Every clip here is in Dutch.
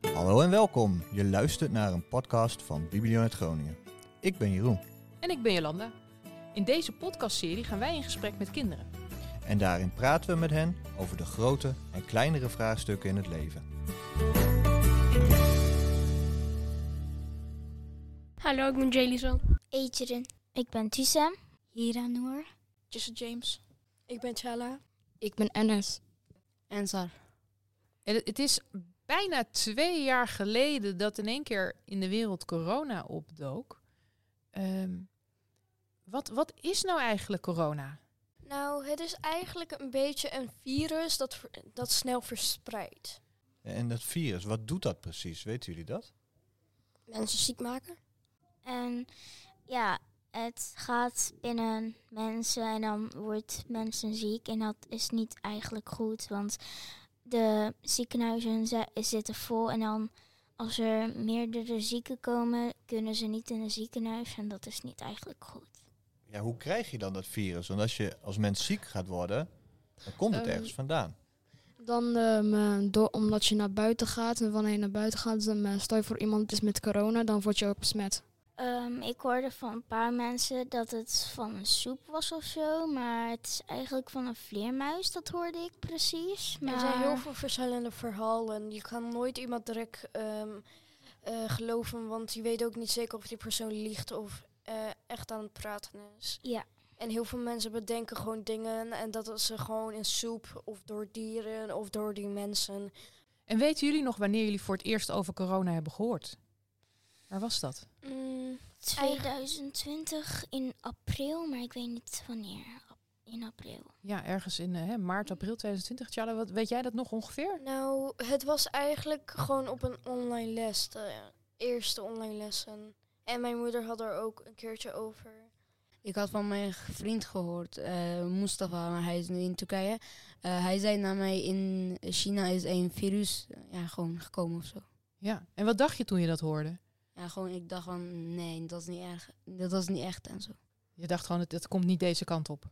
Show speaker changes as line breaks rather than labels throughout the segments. Hallo en welkom. Je luistert naar een podcast van Biblionet Groningen. Ik ben Jeroen
En ik ben Jolanda. In deze podcastserie gaan wij in gesprek met kinderen.
en daarin praten we met hen over de grote en kleinere vraagstukken in het leven.
Hallo, ik ben Jelison.
Adrian. Ik ben Tusem. Hira Noor.
Jesse James.
Ik ben Chala.
Ik ben Enes. Enzar.
En het, het is bijna twee jaar geleden dat in één keer in de wereld corona opdook. Ehm, wat, wat is nou eigenlijk corona?
Nou, het is eigenlijk een beetje een virus dat, ver- dat snel verspreidt.
En dat virus, wat doet dat precies? Weten jullie dat?
Mensen ziek maken.
En ja, het gaat binnen mensen en dan wordt mensen ziek. En dat is niet eigenlijk goed, want de ziekenhuizen ze- zitten vol. En dan als er meerdere zieken komen, kunnen ze niet in een ziekenhuis. En dat is niet eigenlijk goed.
Ja, hoe krijg je dan dat virus? Want als je als mens ziek gaat worden, dan komt het
Ehm,
ergens vandaan.
Dan ehm, eh, door, omdat je naar buiten gaat. En wanneer je naar buiten gaat, dan eh, stel je voor iemand is met corona, dan word je ook besmet.
Ehm, ik hoorde van een paar mensen dat het van een soep was of zo. Maar het is eigenlijk van een vleermuis, dat hoorde ik precies. Maar...
Er zijn heel veel verschillende verhalen. Je kan nooit iemand direct ehm, eh, geloven, want je weet ook niet zeker of die persoon liegt of eh, echt aan het praten is.
Ja.
En heel veel mensen bedenken gewoon dingen en dat is ze gewoon in soep of door dieren of door die mensen.
En weten jullie nog wanneer jullie voor het eerst over corona hebben gehoord? Waar was dat?
Mm,
2020 in april, maar ik weet niet wanneer. Ap- In april.
Ja, ergens in eh, hè, maart, april 2020. Tjalla, wat, weet jij dat nog ongeveer?
nou, het was eigenlijk gewoon op een online les, de eerste online lessen. En mijn moeder had er ook een keertje over.
Ik had van mijn vriend gehoord, eh Mustafa, maar hij is nu in Turkije. Eh, hij zei naar mij in China is een virus eh, ja, gewoon gekomen of zo.
Ja. En wat dacht je toen je dat hoorde?
Ja, gewoon ik dacht van nee, dat is niet erg. Dat was niet echt en zo.
Je dacht gewoon, het, het komt niet deze kant op.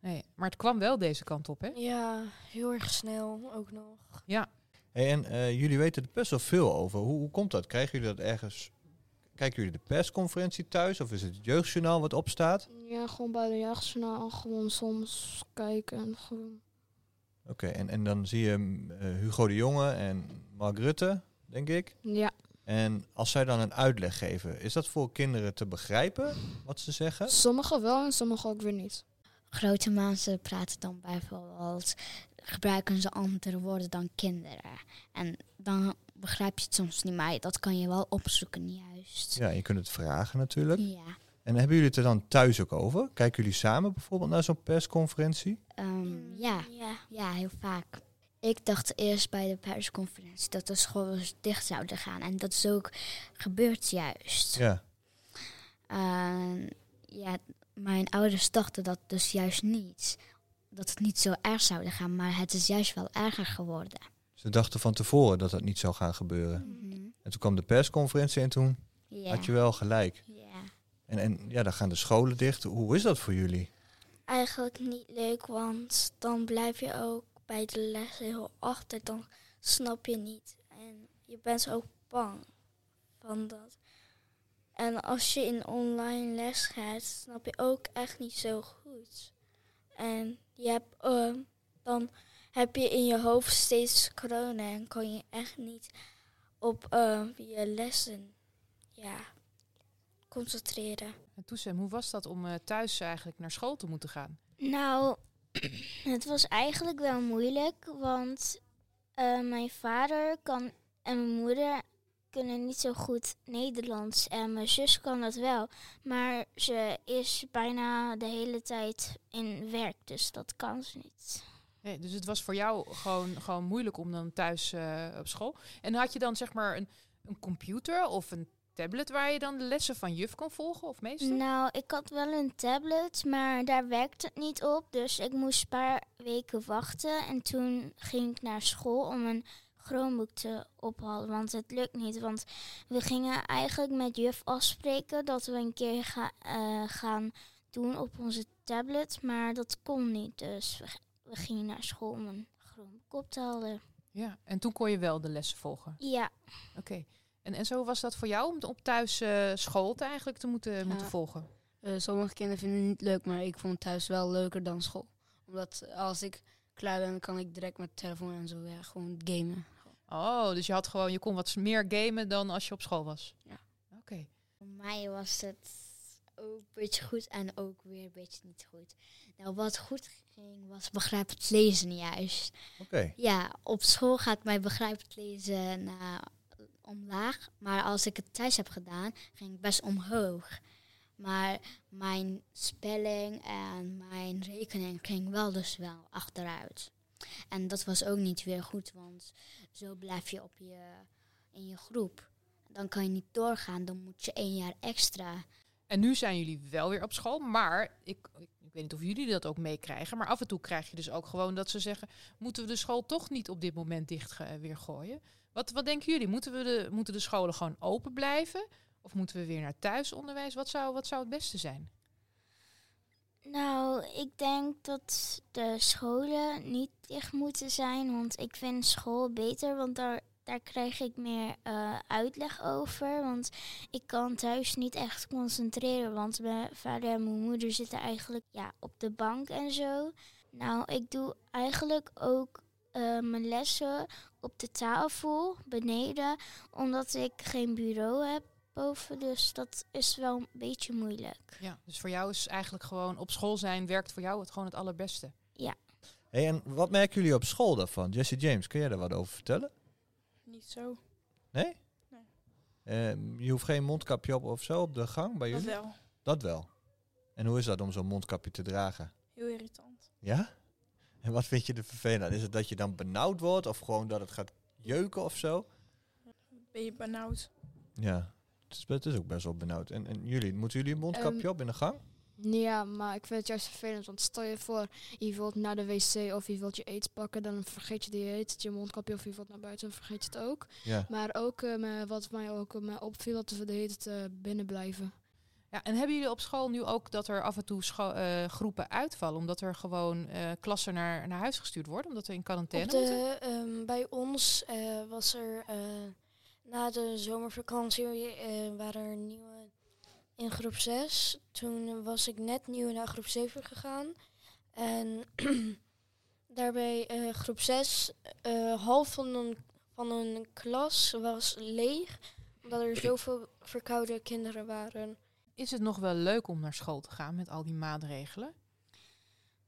Nee, maar het kwam wel deze kant op, hè?
Ja, heel erg snel ook nog.
Hey, en eh, jullie weten er best wel veel over. Hoe, hoe komt dat? Krijgen jullie dat ergens? Kijken jullie de persconferentie thuis of is het het jeugdjournaal wat opstaat?
Ja, gewoon bij de jachtjournaal. Gewoon soms kijken. Gewoon.
Oké, en, en dan zie je mm, eh, Hugo de Jonge en Mark Rutte, denk ik.
Ja.
En als zij dan een uitleg geven, is dat voor kinderen te begrijpen wat ze zeggen?
Sommigen wel en sommigen ook weer niet.
Grote mensen praten dan bijvoorbeeld, gebruiken ze andere woorden dan kinderen. En dan begrijp je het soms niet, maar dat kan je wel opzoeken, juist.
Ja, je kunt het vragen natuurlijk.
Ja,
En hebben jullie het er dan thuis ook over? Kijken jullie samen bijvoorbeeld naar zo'n persconferentie?
ehm, ja,
Ja.
ja, heel vaak. Ik dacht eerst bij de persconferentie dat de scholen dicht zouden gaan. En dat is ook gebeurd juist.
Ja.
Eh, ja, mijn ouders dachten dat dus juist niet. Dat het niet zo erg zouden gaan, maar het is juist wel erger geworden.
Ze dachten van tevoren dat dat niet zou gaan gebeuren. En toen kwam de persconferentie en toen
Mhm. Ja.
had je wel gelijk.
ja.
En, en ja, dan gaan de scholen dicht. Hoe is dat voor jullie?
Eigenlijk niet leuk, want dan blijf je ook bij de les heel achter. Dan snap je niet. En je bent ook bang van dat. En als je in online les gaat, snap je ook echt niet zo goed. En je hebt, eh, dan heb je in je hoofd steeds corona en kan je echt niet op eh, je lessen ja, concentreren.
En Toesem, hoe was dat om eh, thuis eigenlijk naar school te moeten gaan?
Nou, het was eigenlijk wel moeilijk, want eh, mijn vader kan en mijn moeder kunnen niet zo goed Nederlands en mijn zus kan dat wel, maar ze is bijna de hele tijd in werk, dus dat kan ze niet.
Nee, dus het was voor jou gewoon, gewoon moeilijk om dan thuis eh, op school. En had je dan zeg maar een, een computer of een tablet waar je dan de lessen van juf kon volgen of meester?
Nou, ik had wel een tablet, maar daar werkte het niet op, dus ik moest een paar weken wachten en toen ging ik naar school om een Chromebook te ophalen, want het lukt niet. Want we gingen eigenlijk met juf afspreken dat we een keer ga- eh, gaan doen op onze tablet, maar dat kon niet. Dus we, g- we gingen naar school om een Chromebook op te halen.
Ja, en toen kon je wel de lessen volgen.
Ja,
Oké. En, en zo was dat voor jou om t- op thuis eh, school te eigenlijk te moeten, moeten volgen?
Eh, sommige kinderen vinden het niet leuk, maar ik vond thuis wel leuker dan school. Omdat eh, als ik klaar ben, kan ik direct met de telefoon en zo ja, gewoon gamen.
Oh, dus je had gewoon, je kon wat meer gamen dan als je op school was.
Ja.
Oké.
Voor mij was het ook een beetje goed en ook weer een beetje niet goed. Nou, wat goed ging was begrijp het lezen juist.
Oké.
Ja, op school gaat mijn begrijp het lezen naar omlaag. Maar als ik het thuis heb gedaan, ging ik best omhoog. Maar mijn spelling en mijn rekening ging wel dus wel achteruit. En dat was ook niet weer goed, want zo blijf je, op je in je groep. Dan kan je niet doorgaan, dan moet je één jaar extra.
En nu zijn jullie wel weer op school, maar ik, ik weet niet of jullie dat ook meekrijgen. Maar af en toe krijg je dus ook gewoon dat ze zeggen: moeten we de school toch niet op dit moment dicht ge- weer gooien? Wat, wat denken jullie? Moeten, we de, moeten de scholen gewoon open blijven? Of moeten we weer naar thuisonderwijs? Wat zou, wat zou het beste zijn?
Nou, ik denk dat de scholen niet dicht moeten zijn. Want ik vind school beter, want daar, daar krijg ik meer eh, uitleg over. Want ik kan thuis niet echt concentreren. Want mijn vader en mijn moeder zitten eigenlijk ja, op de bank en zo. Nou, ik doe eigenlijk ook eh, mijn lessen op de tafel beneden. Omdat ik geen bureau heb boven. Dus dat is wel een beetje moeilijk.
Ja. Dus voor jou is eigenlijk gewoon op school zijn werkt voor jou het gewoon het allerbeste.
Hey, en wat merken jullie op school daarvan? Jesse James, kun jij daar wat over vertellen?
Niet zo.
Nee?
Nee.
Ehm, je hoeft geen mondkapje op of zo op de gang bij
Dat
jullie?
wel.
Dat wel. En hoe is dat om zo'n mondkapje te dragen?
Heel irritant.
Ja? En wat vind je er vervelend aan? Is het dat je dan benauwd wordt of gewoon dat het gaat jeuken of zo?
Ben je benauwd?
Ja, het is, het is ook best wel benauwd. En, en jullie, moeten jullie een mondkapje
Ehm,
op in de gang?
Ja, maar ik vind het juist vervelend. Want stel je voor, je wilt naar de wc of je wilt je aids pakken. Dan vergeet je die aids, je mondkapje of je wilt naar buiten en vergeet je het ook.
Ja.
Maar ook eh, me- wat mij ook eh, me opviel, dat we de hele tijd eh, binnen blijven.
Ja, en hebben jullie op school nu ook dat er af en toe scho- eh, groepen uitvallen? Omdat er gewoon eh, klassen naar, naar huis gestuurd worden? Omdat we in quarantaine
Op
moeten?
de, ehm, bij ons eh, was er eh, na de zomervakantie eh, waren er nieuwe in groep 6. Toen was ik net nieuw naar groep 7 gegaan. En daarbij eh, groep 6, eh, half van een, van een klas was leeg. Omdat er zoveel verkoude kinderen waren.
Is het nog wel leuk om naar school te gaan met al die maatregelen?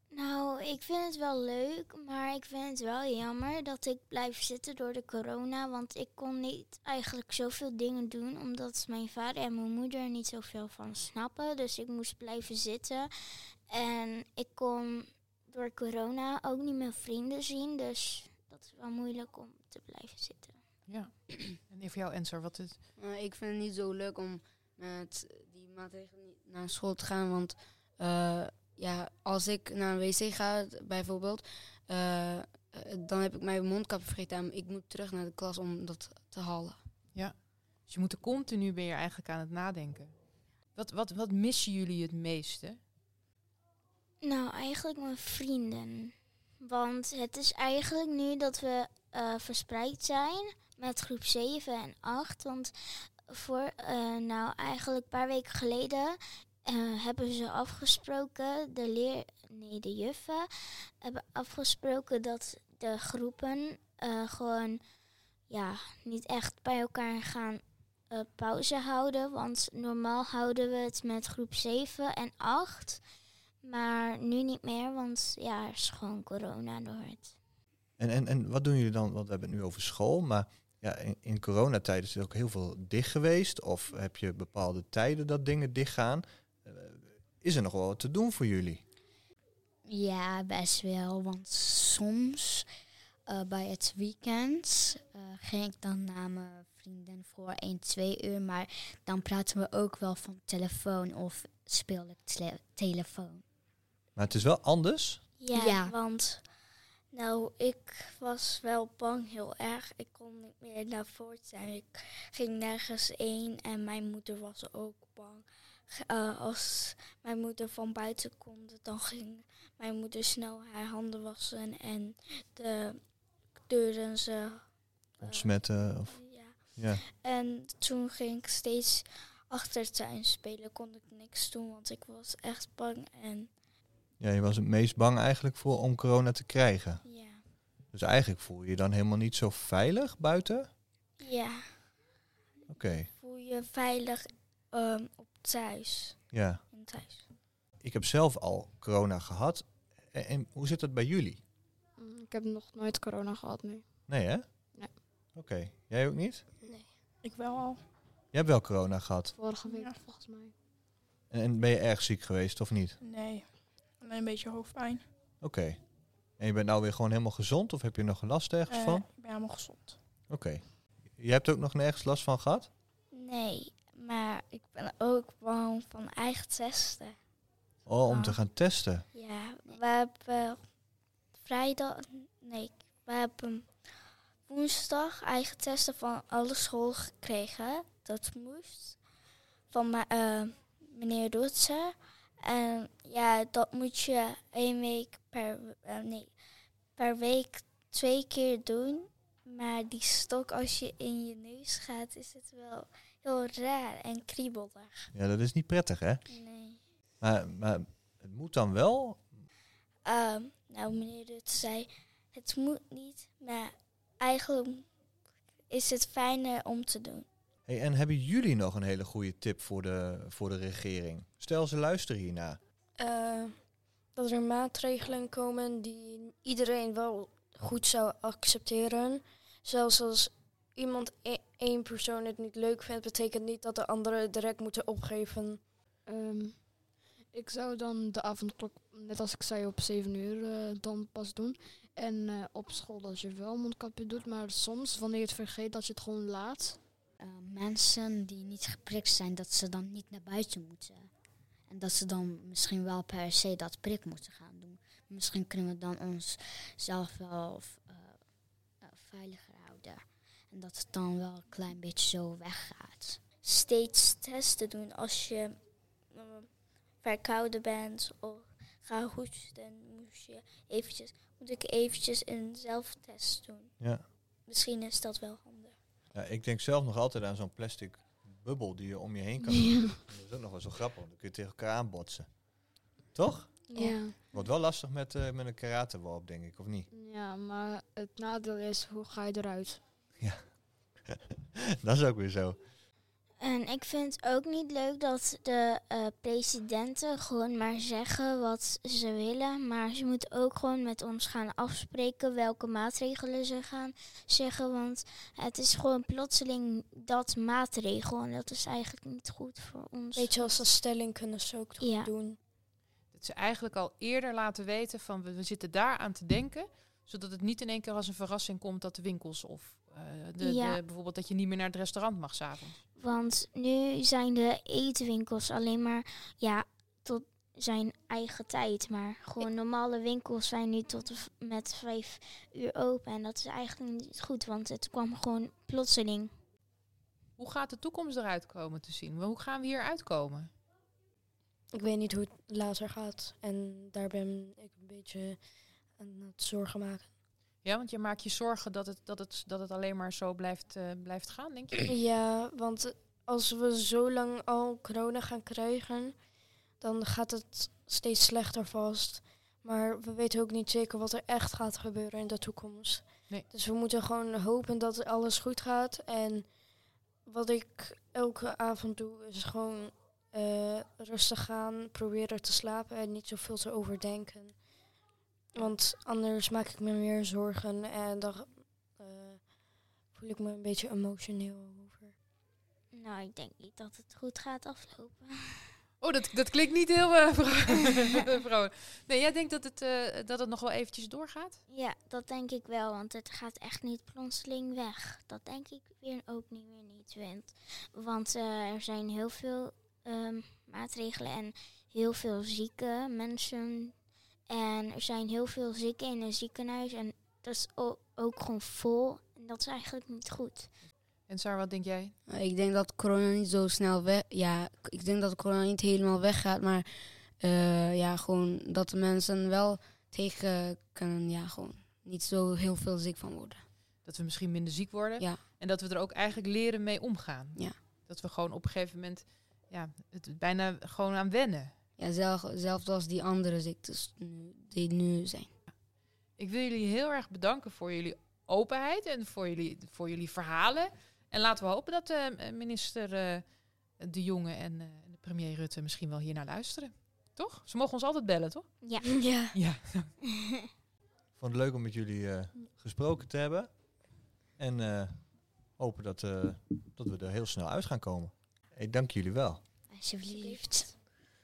Nou, ik vind het wel leuk, maar ik vind het wel jammer dat ik blijf zitten door de corona. Want ik kon niet eigenlijk zoveel dingen doen, omdat mijn vader en mijn moeder er niet zoveel van snappen. Dus ik moest blijven zitten. En ik kon door corona ook niet mijn vrienden zien, dus dat is wel moeilijk om te blijven zitten.
Ja. En voor jou, Enser, wat het?
Eh, ik vind het niet zo leuk om met die maatregelen niet naar school te gaan. Want eh, ja, als ik naar een wc ga, d- bijvoorbeeld, eh, eh, dan heb ik mijn mondkapje vergeten. En ik moet terug naar de klas om dat te halen.
Dus je moet er continu ben je eigenlijk aan het nadenken. Wat, wat, wat missen jullie het meeste?
Nou, eigenlijk mijn vrienden. Want het is eigenlijk nu dat we eh, verspreid zijn met groep 7 en 8. Want voor, eh, nou, eigenlijk een paar weken geleden eh, hebben ze afgesproken, de leer, nee, de juffen hebben afgesproken dat de groepen eh, gewoon, ja, niet echt bij elkaar gaan eh, pauze houden. Want normaal houden we het met groep 7 en 8. Maar nu niet meer, want ja, er is gewoon corona door het.
En, en, en wat doen jullie dan? Want we hebben het nu over school, maar ja, in, in coronatijd is er ook heel veel dicht geweest. Of heb je bepaalde tijden dat dingen dichtgaan? Eh, is er nog wel wat te doen voor jullie?
Ja, best wel. Want soms eh, bij het weekend eh, ging ik dan naar mijn vrienden voor 1, 2 uur. Maar dan praten we ook wel van telefoon of speel ik tele- telefoon.
Maar het is wel anders.
Ja,
Ja.
want nou, ik was wel bang heel erg. Ik kon niet meer naar voort zijn. Ik ging nergens heen en mijn moeder was ook bang. Ge- eh, als mijn moeder van buiten komt, dan ging mijn moeder snel haar handen wassen en de, stuurden ze. eh,
Ontsmetten. Of,
Ja.
ja.
En toen ging ik steeds achter het tuin spelen. Kon ik niks doen, want ik was echt bang. En
ja, je was het meest bang eigenlijk voor om corona te krijgen.
ja.
Dus eigenlijk voel je je dan helemaal niet zo veilig buiten? Oké.
Ja, voel je veilig ehm, op thuis.
Ja.
In thuis.
Ik heb zelf al corona gehad. En, en hoe zit dat bij jullie?
Mm, Ik heb nog nooit corona gehad nu.
Nee, hè?
Nee.
Oké. Jij ook niet?
Ik wel al.
Jij hebt wel corona gehad.
Vorige week
Ja.
volgens mij.
En, en ben je erg ziek geweest of niet?
Nee. Alleen een beetje hoofdpijn.
Oké. En je bent nou weer gewoon helemaal gezond of heb je nog last ergens
Eh,
van?
ik ben helemaal gezond.
Oké. Je hebt ook nog nergens last van gehad?
Nee, maar ik ben ook bang van eigen testen.
Oh, om
Ah.
te gaan testen.
Ja, we hebben vrijdag... Nee, we hebben woensdag eigen testen van alle school gekregen. Dat moest. Van me- eh, meneer Rutse. En ja, dat moet je één week per, eh, nee, per week twee keer doen. Maar die stok als je in je neus gaat, is het wel heel raar en kriebelig.
Ja, dat is niet prettig, hè?
Nee.
Maar, maar het moet dan wel.
Ehm, nou, meneer Rutte zei, het moet niet, maar eigenlijk is het fijner om te doen.
Hey, en hebben jullie nog een hele goede tip voor de, voor de regering? Stel, ze luisteren hierna.
Eh, dat er maatregelen komen die iedereen wel goed zou accepteren. Zelfs als iemand e- één persoon het niet leuk vindt, betekent niet dat de anderen direct moeten opgeven.
Ehm, ik zou dan de avondklok, net als ik zei, op 7 uur eh, dan pas doen. En eh, op school dat je wel mondkapje doet, maar soms wanneer je het vergeet dat je het gewoon laat.
Eh, mensen die niet geprikt zijn, dat ze dan niet naar buiten moeten. En dat ze dan misschien wel per se dat prik moeten gaan doen. Misschien kunnen we dan onszelf wel eh, eh, veiliger houden. En dat het dan wel een klein beetje zo weggaat.
Steeds testen doen als je eh, verkouden bent of ga hoesten, moet, je eventjes, moet ik eventjes een zelftest doen.
Ja.
Misschien is dat wel handig.
Ja, ik denk zelf nog altijd aan zo'n plastic bubbel die je om je heen kan doen.
Ja.
Dat is ook nog wel zo grappig, want dan kun je tegen elkaar aanbotsen. Toch?
Ja.
Wordt wel lastig met, eh, met een karateworp, denk ik, of niet?
ja, maar het nadeel is, hoe ga je eruit?
Dat is ook weer zo.
En ik vind ook niet leuk dat de eh, presidenten gewoon maar zeggen wat ze willen. Maar ze moeten ook gewoon met ons gaan afspreken welke maatregelen ze gaan zeggen. Want het is gewoon plotseling dat maatregel. En dat is eigenlijk niet goed voor ons.
Weet je, als een stelling kunnen ze ook goed
Dus Ja.
doen.
Dat ze eigenlijk al eerder laten weten van we, we zitten daar aan te denken. Zodat het niet in één keer als een verrassing komt dat de winkels of eh, de,
Ja.
de- bijvoorbeeld dat je niet meer naar het restaurant mag s'avonds.
Want nu zijn de eetwinkels alleen maar ja, tot zijn eigen tijd. Maar gewoon normale winkels zijn nu tot de v- met vijf uur open. En dat is eigenlijk niet goed, want het kwam gewoon plotseling.
Hoe gaat de toekomst eruit komen te zien? Hoe gaan we hier uitkomen?
Ik weet niet hoe het later gaat. En daar ben ik een beetje aan het zorgen maken.
Ja, want je maakt je zorgen dat het, dat het, dat het alleen maar zo blijft, eh, blijft gaan, denk je?
Ja, want als we zo lang al corona gaan krijgen, dan gaat het steeds slechter vast. Maar we weten ook niet zeker wat er echt gaat gebeuren in de toekomst.
Nee.
Dus we moeten gewoon hopen dat alles goed gaat. En wat ik elke avond doe, is gewoon eh, rustig gaan, proberen te slapen en niet zoveel te overdenken. Want anders maak ik me meer zorgen en dan eh, voel ik me een beetje emotioneel over.
Nou, ik denk niet dat het goed gaat aflopen.
Oh, dat, dat klinkt niet heel eh, vro- vrolijk. Nee, jij denkt dat het, eh, dat het nog wel eventjes doorgaat?
Ja, dat denk ik wel, want het gaat echt niet plotseling weg. Dat denk ik weer ook niet meer niet. Want, want eh, er zijn heel veel ehm, maatregelen en heel veel zieke mensen. En er zijn heel veel zieken in een ziekenhuis en dat is o- ook gewoon vol. En dat is eigenlijk niet goed.
En Saar, wat denk jij?
Eh, Ik denk dat corona niet zo snel weg... Ja, k- ik denk dat corona niet helemaal weggaat, maar... eh, ja, gewoon dat de mensen wel tegen kunnen, ja, gewoon
niet zo heel veel ziek van worden.
Dat we misschien minder ziek worden.
Ja.
En dat we er ook eigenlijk leren mee omgaan.
Ja.
Dat we gewoon op een gegeven moment ja, het bijna gewoon aan wennen.
Ja, zelf, zelfs als die andere ziektes nu, die nu zijn.
Ik wil jullie heel erg bedanken voor jullie openheid en voor jullie, voor jullie verhalen. En laten we hopen dat eh, minister eh, De Jonge en eh, de premier Rutte misschien wel hier naar luisteren. Toch? Ze mogen ons altijd bellen, toch?
Ja.
Ja.
Ja.
vond het leuk om met jullie eh, gesproken te hebben. En eh, hopen dat, eh, dat we er heel snel uit gaan komen. Ik dank jullie wel.
Alsjeblieft.